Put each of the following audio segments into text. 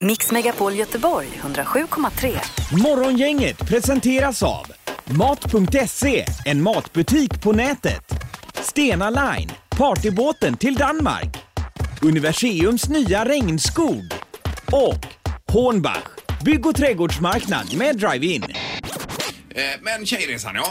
Mix Megapol Göteborg 107,3. Morgongänget presenteras av Mat.se, en matbutik på nätet. Stena Line, partybåten till Danmark. Universiums nya regnskog. Och Hornbach, bygg och trädgårdsmarknad med drive-in. Eh, Men Tjejresan ja.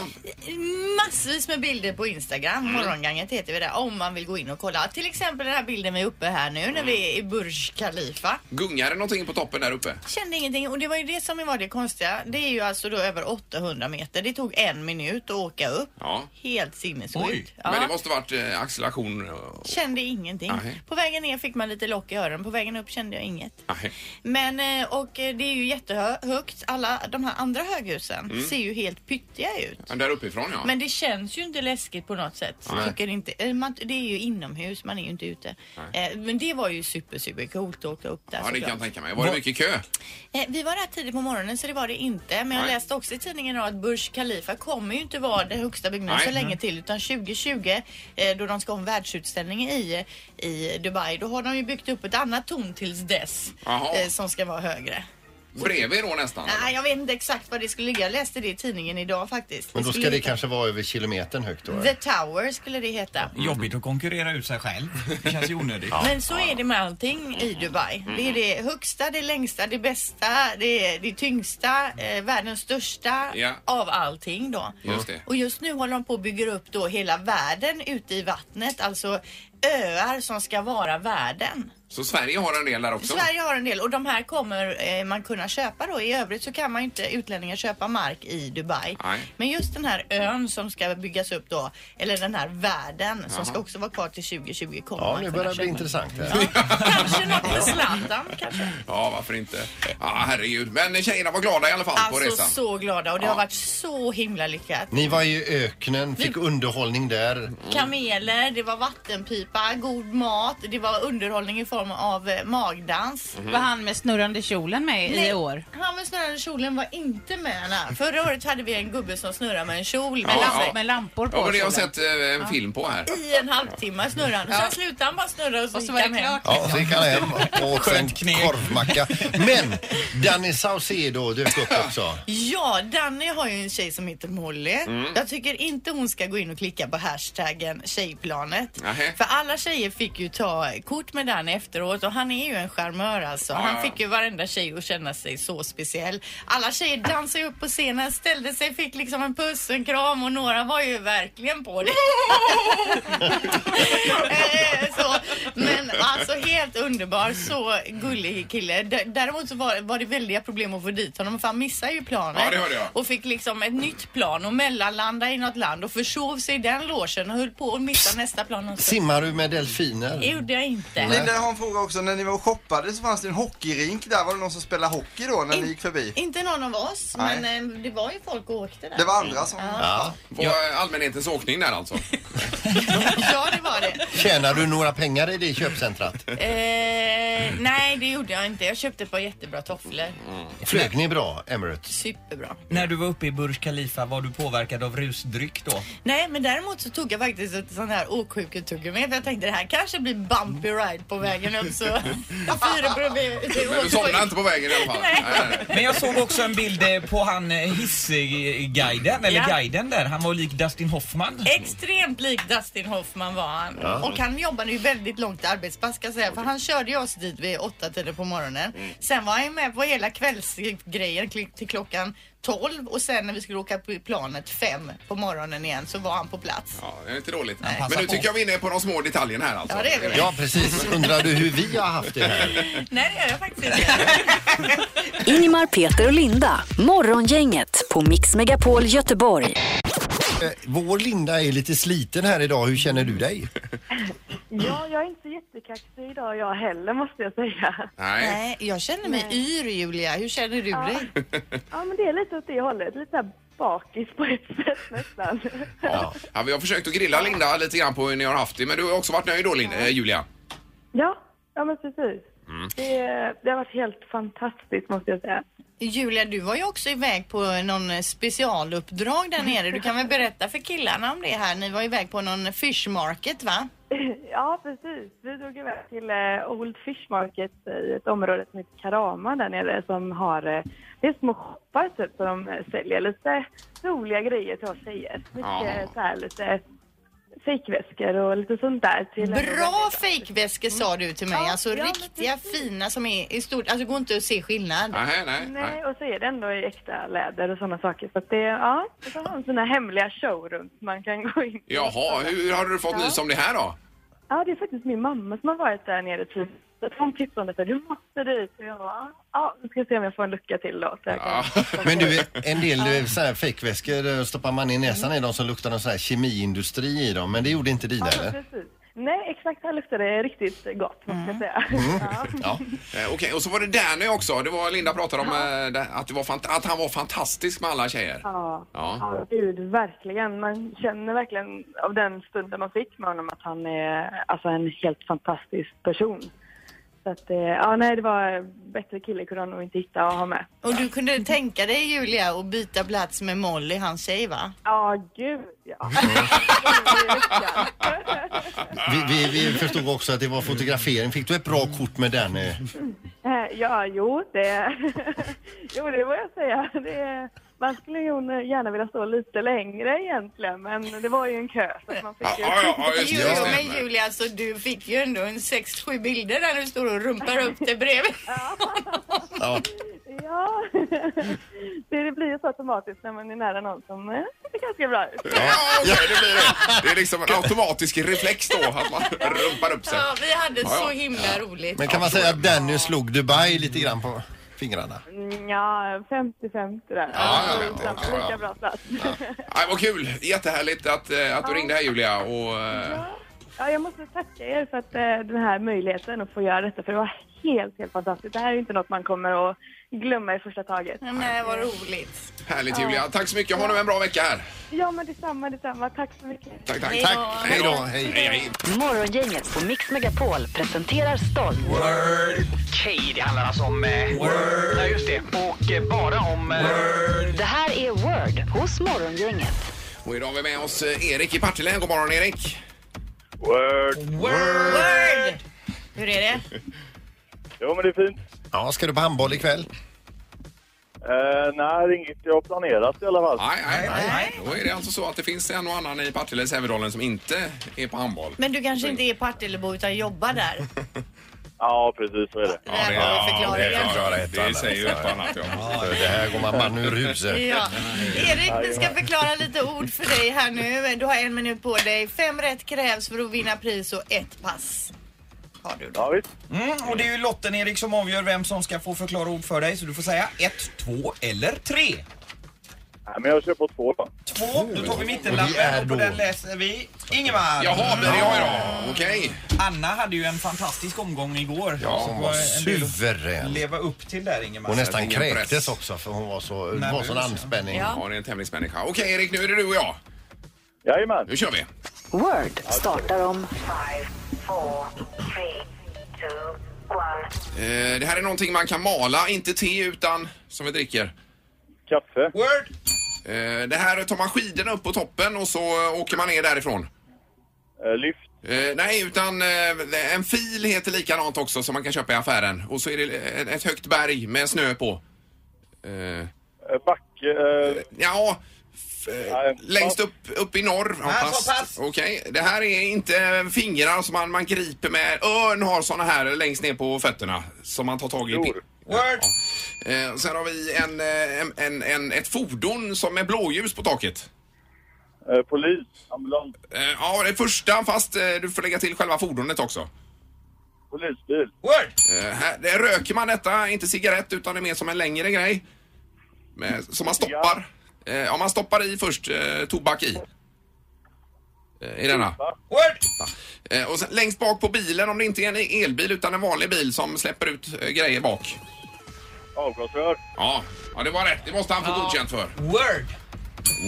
Massvis med bilder på Instagram, Mm. Morgonganget heter vi där, om man vill gå in och kolla. Till exempel den här bilden vi är uppe här nu när Mm. vi är i Burj Khalifa. Gungar det någonting på toppen där uppe? Kände ingenting och det var ju det som var det konstiga. Det är ju alltså då över 800 meter. Det tog en minut att åka upp. Ja. Helt sinnessjukt. Men det Ja. måste varit eh, acceleration. eh, och- Kände ingenting. Nej. På vägen ner fick man lite lock i öronen, på vägen upp kände jag inget. Nej. Men eh, och eh, det är ju jättehögt. Alla de här andra höghusen Mm. ser ju helt pyttiga ut. Men där uppifrån ja. Men det känns ju inte läskigt på något sätt. Nej. Tycker inte, eh, man, det är ju inomhus, man är ju inte ute. Eh, men det var ju super, super coolt att åka upp där Ja, det kan jag såklart. tänka mig. Var det mycket kö? eh, Vi var där tidigt på morgonen så det var det inte. Men jag Nej. läste också i tidningen idag att Burj Khalifa kommer ju inte vara den högsta byggnaden så Nej. länge till. Utan 2020 eh, då de ska ha en världsutställning i, i Dubai, då har de ju byggt upp ett annat torn tills dess. Jaha. Eh, som ska vara högre. Bredvid då nästan? eller? Nej, jag vet inte exakt var det skulle ligga. Jag läste det i tidningen idag faktiskt. Men då ska skulle det heta- kanske vara över kilometern högt då. eller? The Tower skulle det heta. Jobbigt att konkurrera ut sig själv. Det känns ju onödigt. Men så är det med allting i Dubai. Mm. Det är det högsta, det längsta, det bästa, det, det tyngsta, eh, världens största Ja. av allting då. Just det. Och just nu håller de på och bygger upp då hela världen ute i vattnet, alltså öar som ska vara världen. Så Sverige har en del där också? Sverige har en del och de här kommer eh, man kunna köpa då. I övrigt så kan man ju inte utlänningar köpa mark i Dubai. Nej. Men just den här ön som ska byggas upp då, eller den här världen som ska också vara kvar till 2020 kommer Ja, man nu kunna börjar det bli köpa. intressant här. Kanske något för Zlatan kanske. Ja, varför inte? Ja, herregud. Men tjejerna var glada i alla fall på Alltså resan. så glada och det Ja. har varit så himla lyckat. Ni var i öknen, fick underhållning där. Kameler, det var vattenpipa, god mat, det var underhållning i form av eh, magdans. Mm-hmm. Var han med snurrande kjolen med i år? Han med snurrande kjolen var inte med. Nej. Förra året hade vi en gubbe som snurrade med en kjol med Ja, lampor. Med lampor på Ja, men det har jag kjolen. sett eh, en film på här. I en halvtimme snurrade han. Sen slutade han bara snurra och så, Och så gick var han det hem. klart. Ja, så gick han hem och åt en Skönt kneg. korvmacka. Men Danny Saucedo dök upp också. Ja, Danny har ju en tjej som heter Molly. Mm. Jag tycker inte hon ska gå in och klicka på hashtaggen tjejplanet. Nähä. För alla tjejer fick ju ta kort med Danny efteråt och han är ju en charmör alltså. ja. Han fick ju varenda tjej att känna sig så speciell. Alla tjejer dansade ju upp på scenen, ställde sig, fick liksom en puss, en kram och några var ju verkligen på det. Eh, så, men alltså helt underbar, så gullig kille. D- Däremot så var, var det väldiga problem att få dit honom för han missade ju planet. Ja, det hörde jag. Och fick liksom ett nytt plan och mellanlanda i något land och försov sig i den logen och höll på att missa nästa plan. också. Simmar du med Det delfiner? gjorde jag inte. Linda jag har en fråga också. När ni var och shoppade så fanns det en hockeyrink där. Var det någon som spelade hockey då när ni In- gick förbi? Inte någon av oss, Nej. men eh, det var ju folk och åkte där. Det var andra som... Ja. På eh, allmänhetens åkning där alltså. Ja, det var det. Tjänar du några pengar i det köpcentrat? Eh, nej, det gjorde jag inte. Jag köpte ett par jättebra tofflor. Flög ni bra, Emirates? Superbra. När du var uppe i Burj Khalifa, var du påverkad av rusdryck då? Nej, men däremot så tog jag faktiskt ett sån här åksjuketuggummit. Jag tänkte det här kanske blir bumpy ride på vägen upp så... Fyra Men du somnade inte på vägen i alla fall? Nej. nej. Men jag såg också en bild eh, på han eh, hissguiden, eller Ja. guiden där. Han var lik Dustin Hoffman. Extremt lik Dustin Hoffman var han. Och han jobbade ju väldigt långt arbetspass ska jag säga. För han körde ju oss dit vid åtta tiden på morgonen. Sen var han ju med på hela kvällsgrejen kli- till klockan 12 och sen när vi skulle åka på planet fem på morgonen igen så var han på plats. Ja, det är inte dåligt. Men passar nu tycker på. jag vi är inne på de små detaljerna här alltså. Ja, det är vi. Ja, precis. Undrar du hur vi har haft det här? Nej det gör jag faktiskt inte. Ingemar, Peter och Linda. Morgongänget på Mix Megapol Göteborg. Eh, Vår Linda är lite sliten här idag. Hur känner du dig? Ja, jag är inte jättekaxig idag jag heller måste jag säga. Nej. Nej, jag känner mig yr Julia. Hur känner du dig? Ja, men det är lite åt det hållet. Lite så här bakis på ett sätt nästan. Ja. Ja, vi har försökt att grilla Linda lite grann på hur ni har haft det, men du har också varit nöjd då Linda, eh, Julia? Ja, ja men precis. Det, det har varit helt fantastiskt måste jag säga. Julia, du var ju också iväg på någon eh, specialuppdrag där nere. Du kan väl berätta för killarna om det här. Ni var iväg på någon fish market va? Ja, precis. Vi drog iväg till eh, Old Fish Market i ett område som heter Karama där nere som har eh, det är små shoppar typ som de eh, säljer lite roliga grejer till oss tjejer. Mycket Ja. så här lite fejkväskor och lite sånt där. Till Bra fejkväskor sa du till mig. Ja, alltså ja, men riktiga precis. fina som är i stort. Alltså går inte att se skillnad. Nej, nej, nej. Nej, och så är det ändå i äkta läder och sådana saker. Så att det, ja, och så har de sina hemliga showrooms man kan gå in i. Jaha, hur har du fått nys om det här då? Ja, det är faktiskt min mamma som har varit där nere typ. Så att hon tipsade om detta. Du måste dit. Och jag bara, ja, vi ska se om jag får en lucka till då. Så jag kan... Ja. Men du, en del eh, så här fejkväskor eh, stoppar man i näsan i dem så luktar de så här kemiindustri i dem. Men det gjorde inte dina Ja, eller? precis. Nej, exakt. Här luktar det riktigt gott, måste Mm. jag säga. Ja. Ja. Eh, Okej, och så var det Danny också. Det var Linda pratade om eh, det- att, det var fant- att han var fantastisk med alla tjejer. Ja. Ja. ja, gud, verkligen. Man känner verkligen av den stunden man fick med honom att han är alltså, en helt fantastisk person. Så att, eh, ja, nej, det var bättre kille kunde han nog inte hitta att ha med. Och du kunde tänka dig Julia att byta plats med Molly, hans tjej va? Ja, gud ja. Vi, vi, vi förstod också att det var fotografering. Fick du ett bra kort med den? eh? Eh, ja, jo, det... jo, det får jag säga. Det... Man skulle ju gärna vilja stå lite längre egentligen, men det var ju en kö. Så att man fick Ja, ju... ja, ja, just Jo, det, jo, just det. men Julia, alltså, du fick ju ändå en sex, sju bilder där du står och rumpar upp det bredvid. Ja. Ja, det det blir ju så automatiskt när man är nära någon som eh, ser ganska bra ut. Ja, okej, det blir det. Det är liksom en automatisk reflex då, att man rumpar upp sig. Ja, vi hade Ja, ja. så himla roligt. Men kan man säga att Danny slog Dubai lite grann på fingrarna? Mm, Ja, 50-50 där. Ja, ja, ja, Lika- ja, ja. Lika bra plats. Nej, vad kul! Jättehärligt att, eh, att du ringde här Julia. Och, eh, Ja, jag måste tacka er för att eh, den här möjligheten att få göra detta, för det var helt, helt fantastiskt. Det här är ju inte något man kommer att glömma i första taget. Nej, men vad roligt. härligt Julia. Tack så mycket. Ha nu en bra vecka här. Ja, men detsamma, detsamma. Tack så mycket. Tack, tack. Tack. Hej då. Hej. Hej, hej. Morgongänget på Mix Megapol presenterar stolt. Okej, det handlar alltså om... Eh, Word. Ja, just det. Och eh, bara om... Eh, Det här är Word hos Morgongänget. Och idag har vi med oss eh, Erik i Partille. God morgon Erik! Mm. Word! Hur är det? jo, men det är fint. Ja, ska du på handboll ikväll? Eh, nej, inget jag har planerat i alla fall. Nej, Nej, nej, nej. nej. Då är det alltså så att det finns en och annan i Partille Sävedalen som inte är på handboll. Men du kanske inte är Partillebo utan jobbar där? Ja, precis så är det. där har vi förklaringen. Det säger ju ett annat. Ja. Ja, det här går man man ur huset. Ja. Erik, vi ska förklara lite ord för dig här nu. Du har en minut på dig. Fem rätt krävs för att vinna pris och ett pass. Har du då. Ja, visst. Mm, och det är ju lotten Erik som avgör vem som ska få förklara ord för dig. Så du får säga ett, två eller tre. Nej, men jag kör på två då. Två, då tar vi Och vi är mittenlappen och på då- den läser vi Ingemar. Jaha, men det är jag idag. Okej. Anna hade ju en fantastisk omgång igår. Ja, Hon Så var en del att suverän. Leva upp till där Ingemar. Hon nästan Ingen press. kräktes också för hon var så, det var Nervös, sån ja. anspänning. Ja. Ja, det är en tävlingsmänniska. Okej Erik, nu är det du och jag. Jajamän. Nu kör vi. Word startar om Eh, Det här är någonting man kan mala, inte te utan som vi dricker. Kaffe. Word. Eh, Det här tar man skidorna upp på toppen och så eh, åker man ner därifrån. Eh, lyft. Eh, nej, utan eh, en fil heter likadant också som man kan köpa i affären. Och så är det eh, ett högt berg med snö på. Eh, Eh, backe. Eh, ja, f- eh, Nej, längst pass. upp, upp i norr. Ja, Nej, så pass. Okej, det här är inte fingrar som man, man griper med. Örn har såna här längst ner på fötterna som man tar tag i. Snor. Word. Eh, sen har vi en, eh, en, en, en, ett fordon som är blåljus på taket. eh, polis. Ambulans. Eh, ja, det är första fast eh, du får lägga till själva fordonet också. Polisbil. Word. Eh, här, det röker man detta, inte cigarett utan det är mer som en längre grej. Med, som man stoppar. Eh, ja, man stoppar i först eh, tobak i. Eh, I denna. Word. Eh, och sen, längst bak på bilen, om det inte är en elbil utan en vanlig bil som släpper ut eh, grejer bak. Avgasrör. Ja, ja, det var rätt. Det måste han få godkänt för. Word.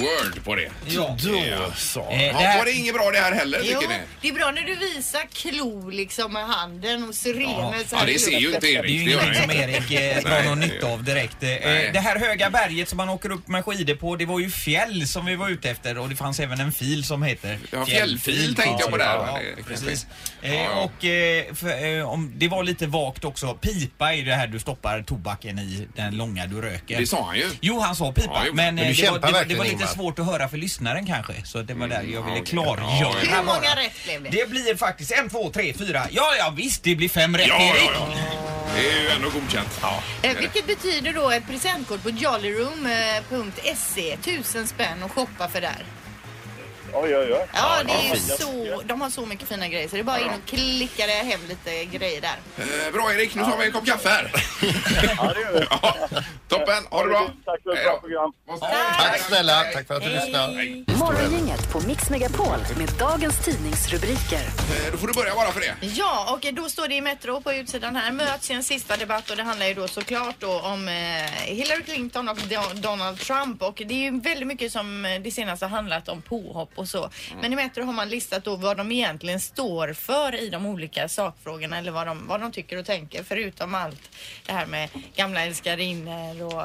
Word på det. Ja. Eh, Då så. Ja, Var det inget bra det här heller Jo, tycker ni? det är bra när du visar klo liksom med handen och sirener. så Ja, här det i ser ju luften. inte Det är ju Erik. ingenting som Erik eh, drar någon nytta av direkt. Eh, Nej. Det här höga berget som man åker upp med skidor på, det var ju fjäll som vi var ute efter och det fanns även en fil som heter... Ja, fjällfil tänkte jag på där. Ja, men det- precis. Ja, Eh, ja. Och eh, för, eh, om, det var lite vagt också, pipa är ju det här du stoppar tobaken i, den långa du röker. Det sa han ju. Jo, han sa pipa, Ja, jo. men, Men eh, du det, var, kämpar det, var, det verkligen, var lite Ingmar. svårt att höra för lyssnaren kanske, så det var där jag ville Mm, ja, okej. klargöra. Ja, Hur bara. många rätt blev det? Det blir faktiskt en, två, tre, fyra. Ja, ja visst, det blir fem rätt Ja, Erik. ja, ja. Det är ju ändå godkänt. Ja. Eh, Vilket betyder då ett presentkort på jollyroom.se. Tusen spänn och shoppa för där. Oj, oj, oj. Ja, det är ju fint. så. De har så mycket fina grejer så det är bara in och klicka det hem lite grejer där. Eh, Bra Erik, nu tar vi en kopp kaffe här. Ja, det gör vi. Ja, Toppen, ha det bra. Tack för ett Hej bra då. program. Tack snälla, tack för att du lyssnade. Morgongänget på Mix Megapol med dagens tidningsrubriker. Eh, Då får du börja bara för det. Ja, och då står det i Metro på utsidan här. Möts i en sista debatt och det handlar ju då såklart då om eh, Hillary Clinton och Do- Donald Trump och det är ju väldigt mycket som eh, det senaste har handlat om påhopp och Mm. så. Men i Metro har man listat då vad de egentligen står för i de olika sakfrågorna eller vad de, vad de tycker och tänker förutom allt det här med gamla älskarinnor och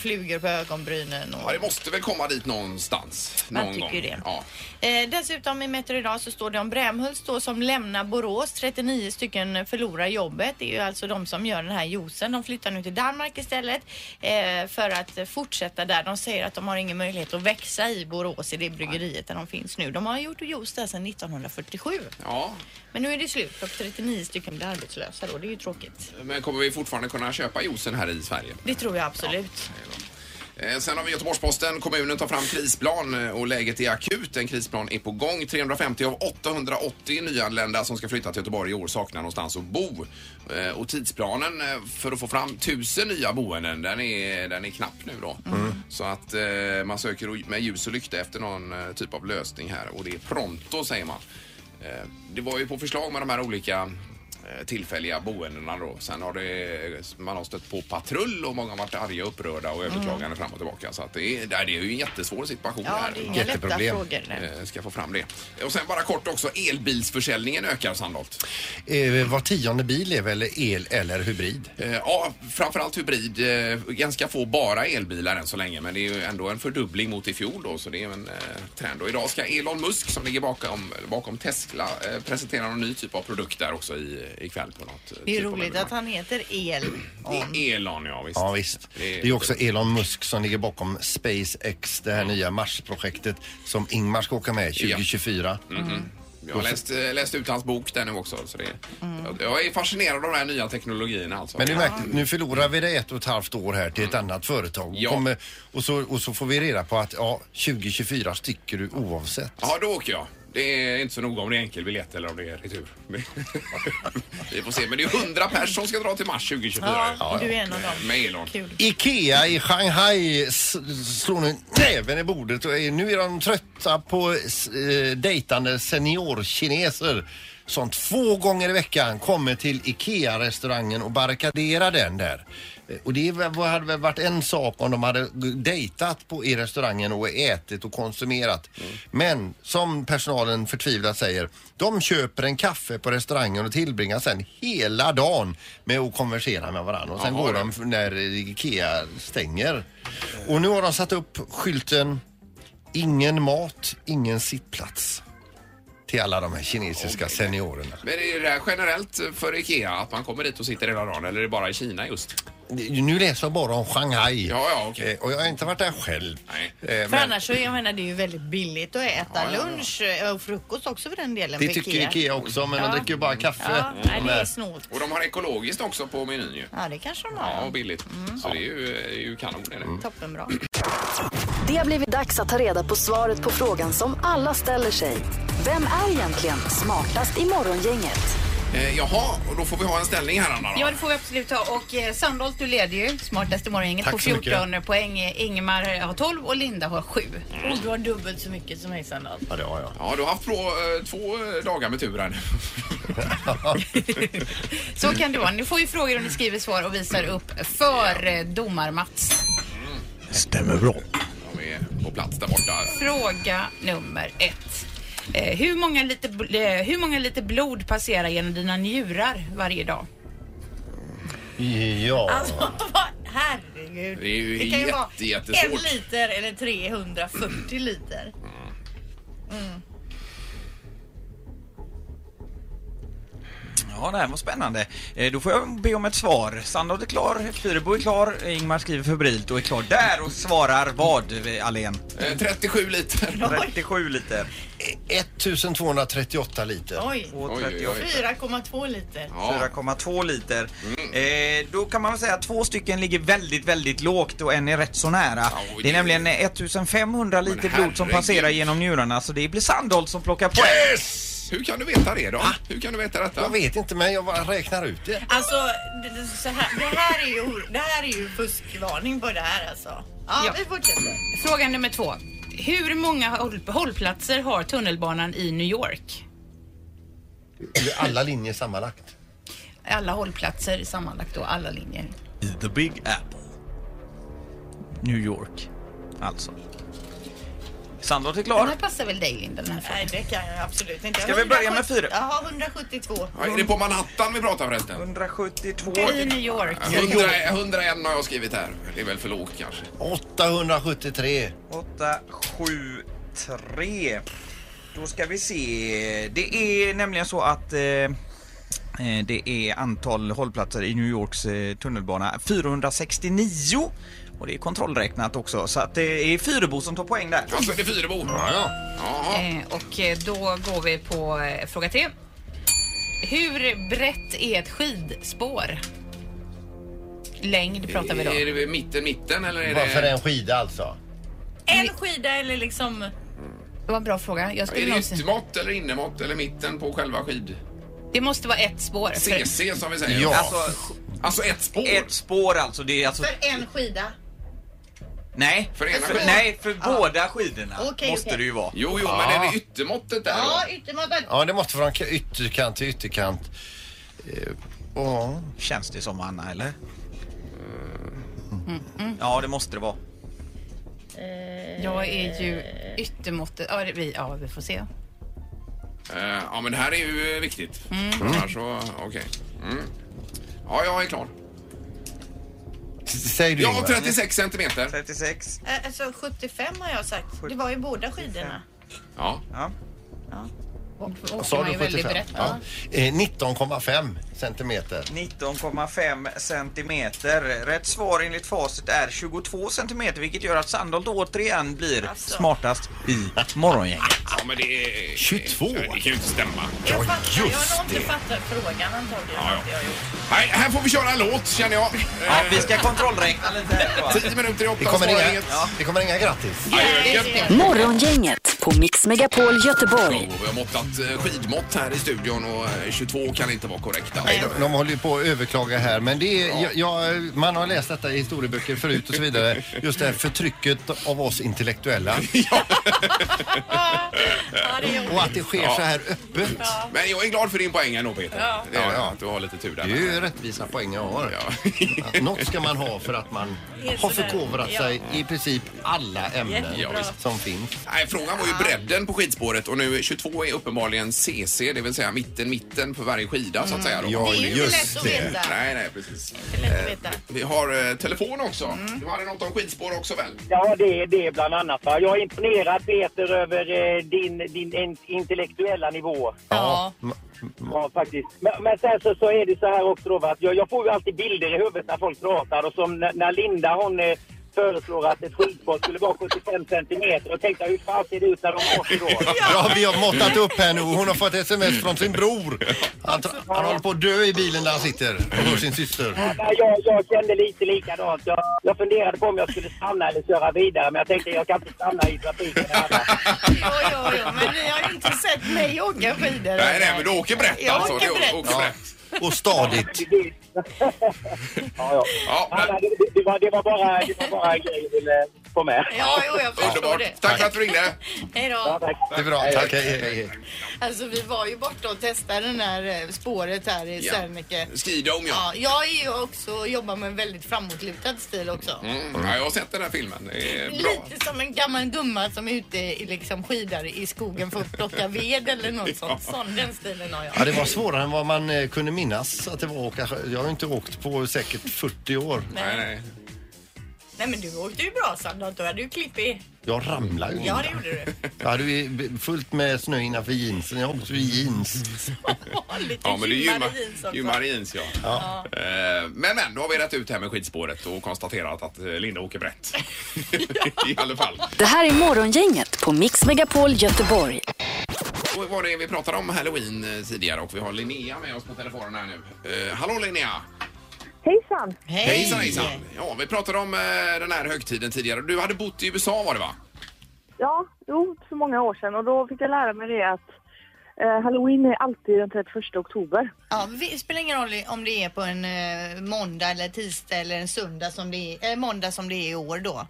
flugor på ögonbrynen Mm. och Ja, det måste väl komma dit någonstans. Man Någon tycker gång. ju det. Ja. Eh, dessutom i Metro idag så står det om Brämhults då som lämnar Borås. 39 stycken förlorar jobbet. Det är ju alltså de som gör den här juicen. De flyttar nu till Danmark istället eh, för att eh, fortsätta där. De säger att de har ingen möjlighet att växa i Borås i det bryggeriet där de finns nu. De har gjort juice där sedan 1947. ja, Men nu är det slut och 39 stycken blir arbetslösa då. Det är ju tråkigt. men kommer vi fortfarande kunna köpa juicen här i Sverige? Det tror jag absolut. Eh, Sen har vi Göteborgs-Posten. Kommunen tar fram krisplan eh, och läget är akut. En krisplan är på gång. 350 av 880 nyanlända som ska flytta till Göteborg i år saknar någonstans att bo. Eh, Och tidsplanen eh, för att få fram 1000 nya boenden, den är, den är knapp nu då. Så att eh, man söker och- med ljus och lykta efter någon eh, typ av lösning här och det är pronto säger man. Eh, Det var ju på förslag med de här olika eh, tillfälliga boendena då. Sen har det, man har stött på patrull och många har varit arga, upprörda och överklagande fram och tillbaka. Så att det, är, det är ju en jättesvår situation Mm. Ja, här. det är inga lätta Jätteproblem. frågor. nu. Eh, Ska få fram det. Och sen bara kort också, elbilsförsäljningen ökar Sandholt. Eh, Var tionde bil är väl el eller hybrid? Eh, Ja, framförallt hybrid. eh, Ganska få bara elbilar än så länge men det är ju ändå en fördubbling mot i fjol då så det är ju en eh, trend. Och idag ska Elon Musk som ligger bakom, bakom Tesla eh, presentera någon ny typ av produkt där också i, ikväll på något. eh, Det är typ av roligt evenemang. att han heter El-On. Det är Elon ja visst. Ja, visst. Det är- Det är också Elon Musk som ligger bakom SpaceX, det här nya Mars-projektet som Ingmar ska åka med 2024. Mhm. Jag har läst, eh, läst ut hans bok där nu också. Så det, jag, jag är fascinerad av de här nya teknologierna alltså. Men det är märkligt, nu förlorar vi det ett och ett halvt år här till ett annat företag. Ja. Kommer, och, så, och så får vi reda på att ja, 2024 sticker du oavsett. Ja, då åker jag. Det är inte så noga om det är enkel biljett eller om det är retur. Vi får se. Men det är 100 pers som ska dra till mars 2024. Ja, du är en av dem. Med Elon. Kul. Ikea i Shanghai s- slår nu näven i bordet och är- nu är de trötta på s- eh, dejtande seniorkineser som två gånger i veckan kommer till Ikea-restaurangen och barrikaderar den där. Eh, Och det är väl- vad hade väl varit en sak om de hade g- dejtat på, i restaurangen och ätit och konsumerat. Men som personalen förtvivlat säger, de köper en kaffe på restaurangen och tillbringar sen hela dagen med att konversera med varandra. Och sen Jaha, går det. de f- när IKEA stänger. Och nu har de satt upp skylten Ingen mat, ingen sittplats. Till alla de här kinesiska seniorerna. Men är det här generellt för IKEA att man kommer dit och sitter hela dagen eller är det bara i Kina just? Nu läser jag bara om Shanghai. Ja, ja, okej. Eh, Och jag har inte varit där själv. Nej. Eh, För Men annars så, jag menar det är ju väldigt billigt att äta Ja, ja, ja. lunch eh, och frukost också för den delen. det på tycker Mm. IKEA också, men Ja. de dricker ju bara kaffe. Ja, nej, De det är här. snålt. Och de har ekologiskt också på menyn ju. Ja, det kanske de Ja, har. och billigt. Så det är ju, är ju kanon. Är det. Toppenbra. Det har blivit dags att ta reda på svaret på frågan som alla ställer sig. Vem är egentligen smartast i Morgongänget? Eh, jaha, och då får vi ha en ställning här Anna då. Ja, det får vi absolut ta. Och eh, Sandholt, du leder ju smartaste morgongänget Tack på så mycket. 14 poäng. Ingemar eh, har 12 och Linda har 7. Och du har dubbelt så mycket som mig Sandal. Ja, det har jag. Ja, du har haft två, eh, två eh, dagar med tur här nu. Så kan det vara. Ni får ju frågor om ni skriver svar och visar upp för eh, domar-Mats. Ja, vi- eh, på plats där borta. Fråga nummer ett. Eh, hur, många liter, bl- eh, hur många liter blod passerar genom dina njurar varje dag? Ja. Alltså, vad, herregud. Det är ju kan ju jätte- vara jättesvårt. en liter eller 340 liter. Mm. Ja, det här var spännande. Eh, Då får jag be om ett svar. Sandholt är klar, Fyrebo är klar, eh, Ingmar skriver febrilt och är klar där och svarar vad, eh, Alen? 37 liter. 37 liter. 1238 liter. Oj. Och 38. 4,2 liter. 4,2 liter. Mm. Eh, då kan man väl säga att två stycken ligger väldigt, väldigt lågt och en är rätt så nära. det är nämligen 1500 liter blod som herregud. passerar genom njurarna så det blir Sandholt som plockar poäng. Yes! Hur kan du veta det då? Hur kan du veta detta? Jag vet inte men jag bara räknar ut det. Alltså, det, det, så här, det, här är ju, or- det här är ju fuskvarning på det här alltså. Ja, Ja. vi fortsätter. Fråga nummer två. Hur många håll, hållplatser har tunnelbanan i New York? Alla linjer sammanlagt. Alla hållplatser sammanlagt då, alla linjer. The Big Apple. New York, alltså. Sandholt är Den klar. här passar väl dig Linda, den här frågan? Nej, det kan jag absolut inte. Ska vi börja med 170 fyra? Jaha, 172. Ja, är det på Manhattan vi pratar förresten? 172. I New York. 100, 101 har jag skrivit här. Det är väl för lågt kanske. 873. 873. Då ska vi se. Det är nämligen så att eh, eh, det är antal hållplatser i New Yorks eh, tunnelbana 469. Och det är kontrollräknat också så att det är Fyrebo som tar poäng där. Alltså det är Fyrebo? Ja, Eh, och eh, då går vi på eh, fråga tre. Hur brett är ett skidspår? Längd pratar vi då. Är det vid mitten, mitten eller är Bara för det... en skida alltså. En skida eller liksom... Det var en bra fråga. Jag skulle Är det någonsin... yttermått eller innermått eller mitten på själva skid... Det måste vara ett spår. För... CC som vi säger. Ja. Alltså, Alltså ett spår. ett spår alltså. Det är alltså För en skida. nej, För ena skidan. nej, för båda skidorna Ah. Okej, måste okej. det ju vara. Jo, jo, Ja. men är det yttermåttet där Ja, då? yttermåttet. Ja, det måste vara från ytterkant till ytterkant. Eh, Ja. Känns det som Anna eller? Ja det måste det vara. Jag är ju Eh, yttermåttet. Ja, det- vi, ja, vi får se. Eh, Ja, men det här är ju eh, viktigt. Annars så, okej. Mm. Ja, jag är klar. Säg du Ja, Ingmar. 36 centimeter. 36. Eh, Alltså 75 har jag sagt. Det var ju båda skidorna. Ja. Ja. Åker Sa man du ju väldigt 75? brett. Ja. Eh, 19,5 centimeter. 19,5 centimeter. Rätt svar enligt facit är 22 centimeter vilket gör att Sandholt återigen blir Alltså. smartast i Morgongänget. ja, men det är... 22. Det kan ju inte stämma. Jag fattar, jag har nog just inte fattat frågan antagligen. Ja, ja. att jag har gjort. Nej, här får vi köra en låt känner jag. Ja, vi ska kontrollräkna lite här. va? 10 minuter i Det 8 kommer svarar inga, inget. det kommer inga grattis. Adjöken. Morgongänget på Mix Megapol Göteborg. Och Vi har måttat eh, skidmått här i studion och eh, 22 kan inte vara korrekta. Nej, de, de håller ju på att överklaga här men det är, jag, jag, man har läst detta i historieböcker förut och så vidare. Just det här förtrycket av oss intellektuella Ja, det är och att det sker så här öppet. Men jag är glad för din poäng ändå Peter. Ja. Det är, Ja, ja. Att du har lite tur Det där. är ju rättvisa poäng jag har. Ja. Att Något ska man ha för att man har förkovrat sig i princip alla ämnen Jättebra. som finns. Nej, frågan var ju Ah. bredden på skidspåret och nu 22 är uppenbarligen CC, det vill säga mitten, mitten på varje skida Mm. så att säga. då. Ja, ju inte lätt att veta. Nej, nej, precis. inte lätt att veta. Mm. Vi har eh, telefon också. Du hade något om skidspår också väl? Ja, det är det bland annat. va. Jag är imponerad, Peter, över eh, din, din in- intellektuella nivå. Ja. Ja, faktiskt. Men, men sen så, så är det så här också då, va, att jag, jag får ju alltid bilder i huvudet när folk pratar och som när, när Linda hon eh, föreslår att ett skidspår skulle vara 75 centimeter. Jag tänkte, hur fan ser det ut när de åker då? Ja, vi har måttat upp här nu och hon har fått sms från sin bror. Han, tra- han håller på att dö i bilen där han sitter och hör sin syster. Nej, Jag, jag kände lite likadant. Jag, jag funderade på om jag skulle stanna eller köra vidare, men jag tänkte jag kan inte stanna i trafiken. här. Jo, jo, jo, men ni har ju inte sett mig åka skidor. Nej, nej, men du åker brett Jag alltså. åker Du brett. Åker brett. Och stadigt. ja, ja. Ja, Ja, men, nej, det, det, var, det, var bara, det var bara en grej jag ville på med. Ja, jo, jag förstår Underbart. det. Tack för att du ringde. Hej då. Det är bra, tack. Hej, hej, hej. Alltså vi var ju borta och testade det här eh, spåret här i Ja. Serneke. Skidome, ja. ja. Jag är ju också, jobbar med en väldigt framåtlutad stil också. Mm. ja. Jag har sett den här filmen. Det är bra. Lite som en gammal gumma som är ute i liksom skidar i skogen för att plocka ved eller något sånt. Sån, den stilen har jag. Ja, det var svårare än vad man eh, kunde minnas att det var att åka. sjö. Jag har ju inte åkt på säkert 40 år. Nej, Nej men du åkte ju bra Sandra, du hade ju klipp i. Jag ramlade ju. Ja det gjorde du. Jag hade ju b- fullt med snö innanför jeansen. Jag åkte ju i jeans. Ja, men det är gymmare gymmar, jeans också. gymmar jeans, ja. Eh, Men, men, då har vi rätt ut det här med skidspåret och konstaterat att eh, Linda åker brett. I alla fall. Det här är Morgongänget på Mix Megapol Göteborg. Och var det vi pratade om halloween eh, tidigare och vi har Linnea med oss på telefonen här nu. Eh, hallå Linnea! Hejsan! Hej! Hejsan hejsan! Ja, vi pratade om eh, den här högtiden tidigare. Du hade bott i USA var det va? Ja, jo, för många år sedan och då fick jag lära mig det att eh, Halloween är alltid den 31 oktober. Ja, vi- det spelar ingen roll om det är på en eh, måndag eller tisdag eller en söndag som det är, eh, måndag som det är i år då.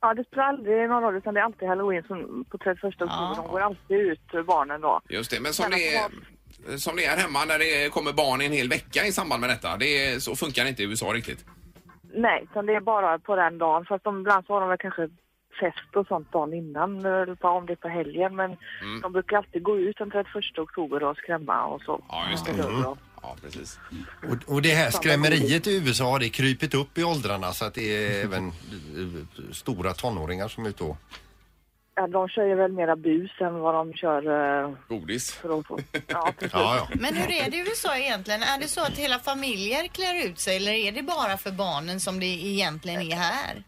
Ja, det spelar aldrig någon roll utan det är alltid Halloween som på 31 oktober. De går alltid ut, barnen då. Just det, men som det, är, som det är hemma när det kommer barn i en hel vecka i samband med detta. Det är, så funkar det inte i USA riktigt. Nej, utan det är bara på den dagen. Fast de, ibland så har de väl kanske fest och sånt dagen innan, eller på- om det är på helgen. Men Mm. de brukar alltid gå ut den 31 oktober och skrämma och så. Ja, just det. Mm. Ja, precis. Och, och det här skrämmeriet i USA har det krypit upp i åldrarna så att det är även eh, stora tonåringar som är ute och... Ja, de kör ju väl mera bus än vad de kör... Eh, Godis. För att få, ja, precis. Ja, ja. Men hur är det i USA egentligen? Är det så att hela familjer klär ut sig eller är det bara för barnen som det egentligen är här?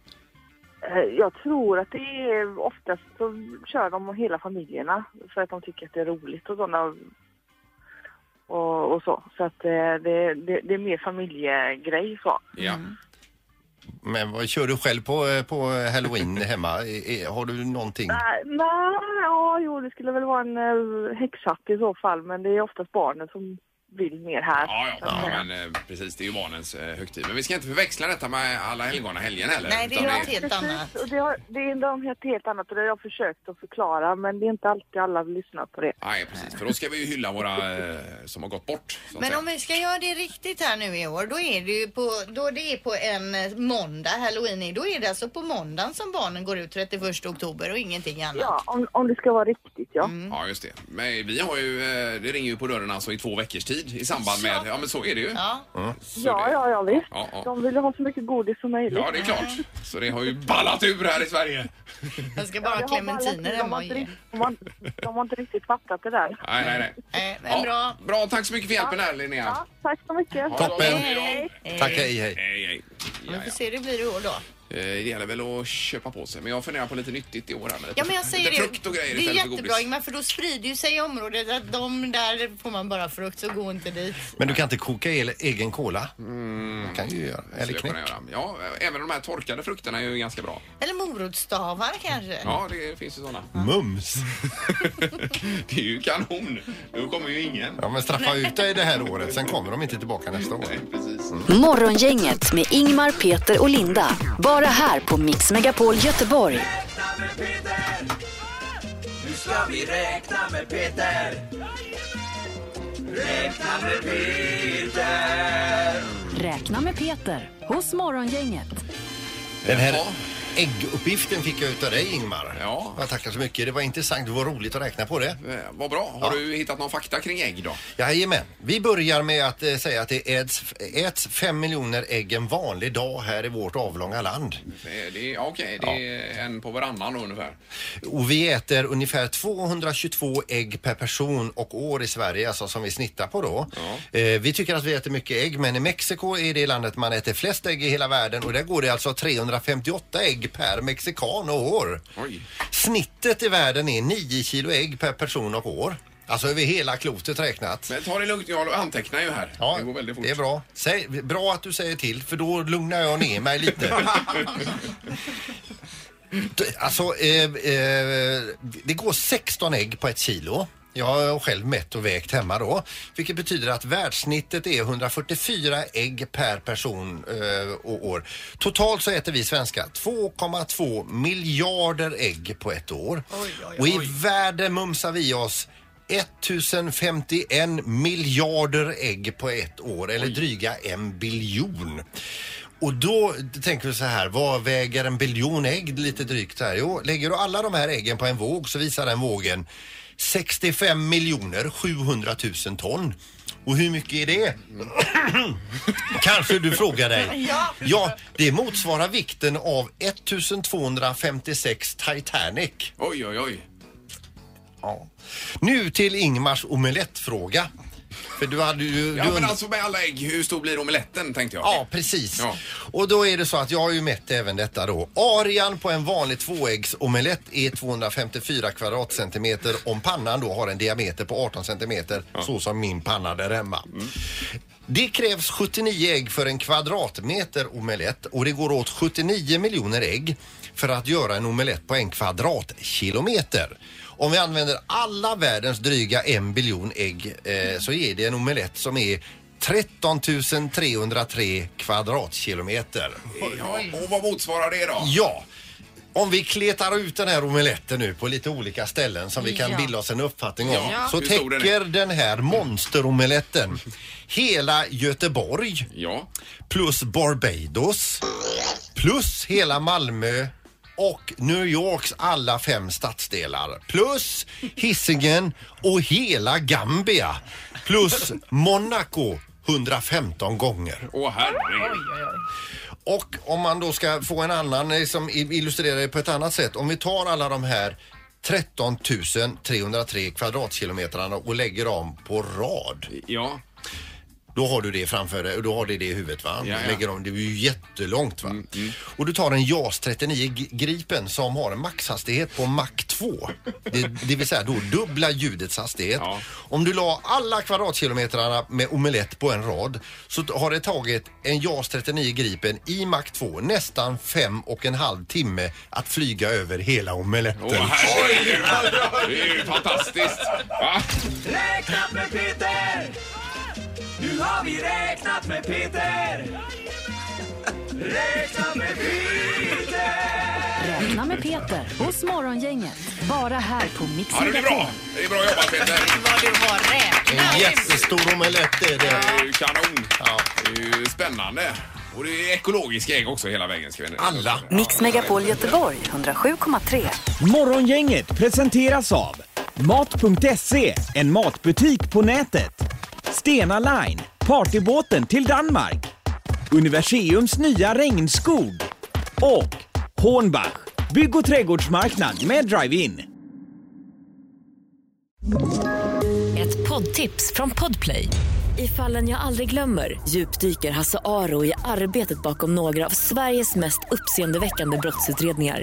Eh, Jag tror att det är oftast så kör de och hela familjerna för att de tycker att det är roligt och sådana och, och så. Så att eh, det, det, det är mer familjegrej så. Ja. Men vad kör du själv på, eh, på halloween hemma? I- i- Har du någonting? Nej, Eh, nej, ja, jo, det skulle väl vara en eh, häxhatt i så fall, men det är oftast barnen som vill mer här. Ja, ja, ja, men eh, precis. Det är ju barnens eh, högtid. Men vi ska inte förväxla detta med alla helgona helgen heller. utan annat. Och det, har, det är de helt, helt annat och det har jag försökt att förklara, men det är inte alltid alla lyssnar på det. Nej, precis. För då ska vi ju hylla våra eh, som har gått bort. Så att Men säga. om vi ska göra det riktigt här nu i år, då är det ju på, då det är på en eh, måndag, halloween, är- då är det alltså på måndagen som barnen går ut 31 oktober och ingenting annat. Ja, om, om det ska vara riktigt, ja. Mm. Ja, just det. Men vi har ju, eh, det ringer ju på dörren alltså i två veckors tid i samband med, ja men så är det ju. Ja, Ja, ja, ja visst. Ja, ja. De vill ju ha så mycket godis som möjligt. ja det är klart. Så det har ju ballat ur här i Sverige. Jag ska bara ha clementiner hemma och ge. De har, de har inte riktigt fattat det där. Nej, nej, nej. Eh, men bra. Bra, tack så mycket för hjälpen här Linnea. Ja, tack så mycket. Toppen. Tack, hej, hej. hej, hej. Vi får se hur det blir i år då. Eh, Det gäller väl att köpa på sig, men jag funderar på lite nyttigt i år. här med lite- Ja men jag säger lite frukt det, och grejer det är istället för godis. jättebra Ingmar för då sprider ju sig i området att de där får man bara frukt så gå inte dit. Men du kan inte koka el- egen cola? kan ju göra. Det Eller skulle jag knäck. kunna göra. Ja, även de här torkade frukterna är ju ganska bra. Eller morotsstavar kanske? Ja, det finns ju sådana. Mums! Det är ju kanon. Nu kommer ju ingen. Ja, men straffa ut dig det här året. Sen kommer de inte tillbaka nästa år. Morgongänget med Ingmar, Peter och Linda. Bara här på Mix Megapol Göteborg. Nu ska vi räkna med Peter. Räkna med Peter. Räkna med Peter hos Morgongänget. Den här ägguppgiften fick jag utav dig Ingmar. Ja. Jag tackar så mycket. Det var intressant. Det var roligt att räkna på det. Eh, Vad bra. Har du hittat någon fakta kring ägg då? Jajamän. Vi börjar med att eh, säga att det äts, äts 5 miljoner ägg en vanlig dag här i vårt avlånga land. Det, det, ja, Okej, det är en på varannan då ungefär. Och vi äter ungefär 222 ägg per person och år i Sverige, alltså som vi snittar på då. Eh, vi tycker att vi äter mycket ägg, men i Mexiko är det landet man äter flest ägg i hela världen och där går det alltså 358 ägg per mexikan och år. Snittet i världen är 9 kilo ägg per person och år. Alltså över hela klotet räknat. Men ta det lugnt, jag antecknar ju här. Ja, det går väldigt fort. det är bra. Säg, bra att du säger till för då lugnar jag ner mig lite. Alltså, eh, eh, det går 16 ägg på ett kilo. Jag har själv mätt och vägt hemma då. Vilket betyder att världssnittet är 144 ägg per person eh, och år. Totalt så äter vi svenskar 2,2 miljarder ägg på ett år. Och i världen mumsar vi oss 1051 miljarder ägg på ett år eller dryga en biljon. Och då tänker vi så här, vad väger en biljon ägg lite drygt här? Jo, lägger du alla de här äggen på en våg så visar den vågen 65 miljoner 700 000 ton. Och hur mycket är det? Kanske du frågar dig. Ja. ja, det motsvarar vikten av 1256 Titanic. Oj, oj, oj. Ja. Nu till Ingmars omelettfråga. För du hade ju... Ja, du men und- alltså med alla ägg, hur stor blir omeletten tänkte jag? Ja, precis. Och då är det så att jag har ju mätt även detta då. Arian på en vanlig tvåäggsomelett är 254 kvadratcentimeter om pannan då har en diameter på 18 centimeter så som min panna där hemma. Det krävs 79 ägg för en kvadratmeter omelett och det går åt 79 miljoner ägg för att göra en omelett på en kvadratkilometer. Om vi använder alla världens dryga en biljon ägg eh, så är det en omelett som är 13 303 kvadratkilometer. Ja, och vad motsvarar det då? Ja. Om vi kletar ut den här omeletten nu på lite olika ställen som vi kan Ja. bilda oss en uppfattning om. Ja. Så Hur stor den är. täcker den här monsteromeletten hela Göteborg. Plus Barbados. Plus hela Malmö och New Yorks alla fem stadsdelar. Plus Hisingen och hela Gambia. Plus Monaco 115 gånger. Åh herregud. Och om man då ska få en annan eh, som illustrerar det på ett annat sätt. Om vi tar alla de här 13 303 kvadratkilometrarna och lägger dem på rad. Ja. Då har du det framför dig och då har du det i huvudet va? Ja, Mm, ja. Lägger dem, det är ju jättelångt va? Och du tar en JAS 39 G- Gripen som har en maxhastighet på Mach 2. Det, det vill säga då dubbla ljudets hastighet. Om du la alla kvadratkilometrarna med omelett på en rad så t- har det tagit en JAS 39 Gripen i Mach 2 nästan fem och en halv timme att flyga över hela omeletten. Åh herregud. Det är ju fantastiskt. Va? Räknat med Peter! Nu har vi räknat med Peter! Räkna med Peter! Räkna med Peter hos Morgongänget. Bara här på Mix Ja, det blir bra. Det är bra jobbat Peter. Vad du har räknat. En jättestor omelett är Det det. är ju kanon. Det är ju spännande. Och det är ekologiska ägg också hela vägen. Ska vi... Alla. Mix Megapol Göteborg 107,3. Morgongänget presenteras av Mat.se, en matbutik på nätet. Stena Line, partybåten till Danmark. Universiums nya regnskog. Och Hornbach, bygg och trädgårdsmarknad med drive-in. Ett poddtips från Podplay. I fallen jag aldrig glömmer djupdyker Hasse Aro i arbetet bakom några av Sveriges mest uppseendeväckande brottsutredningar.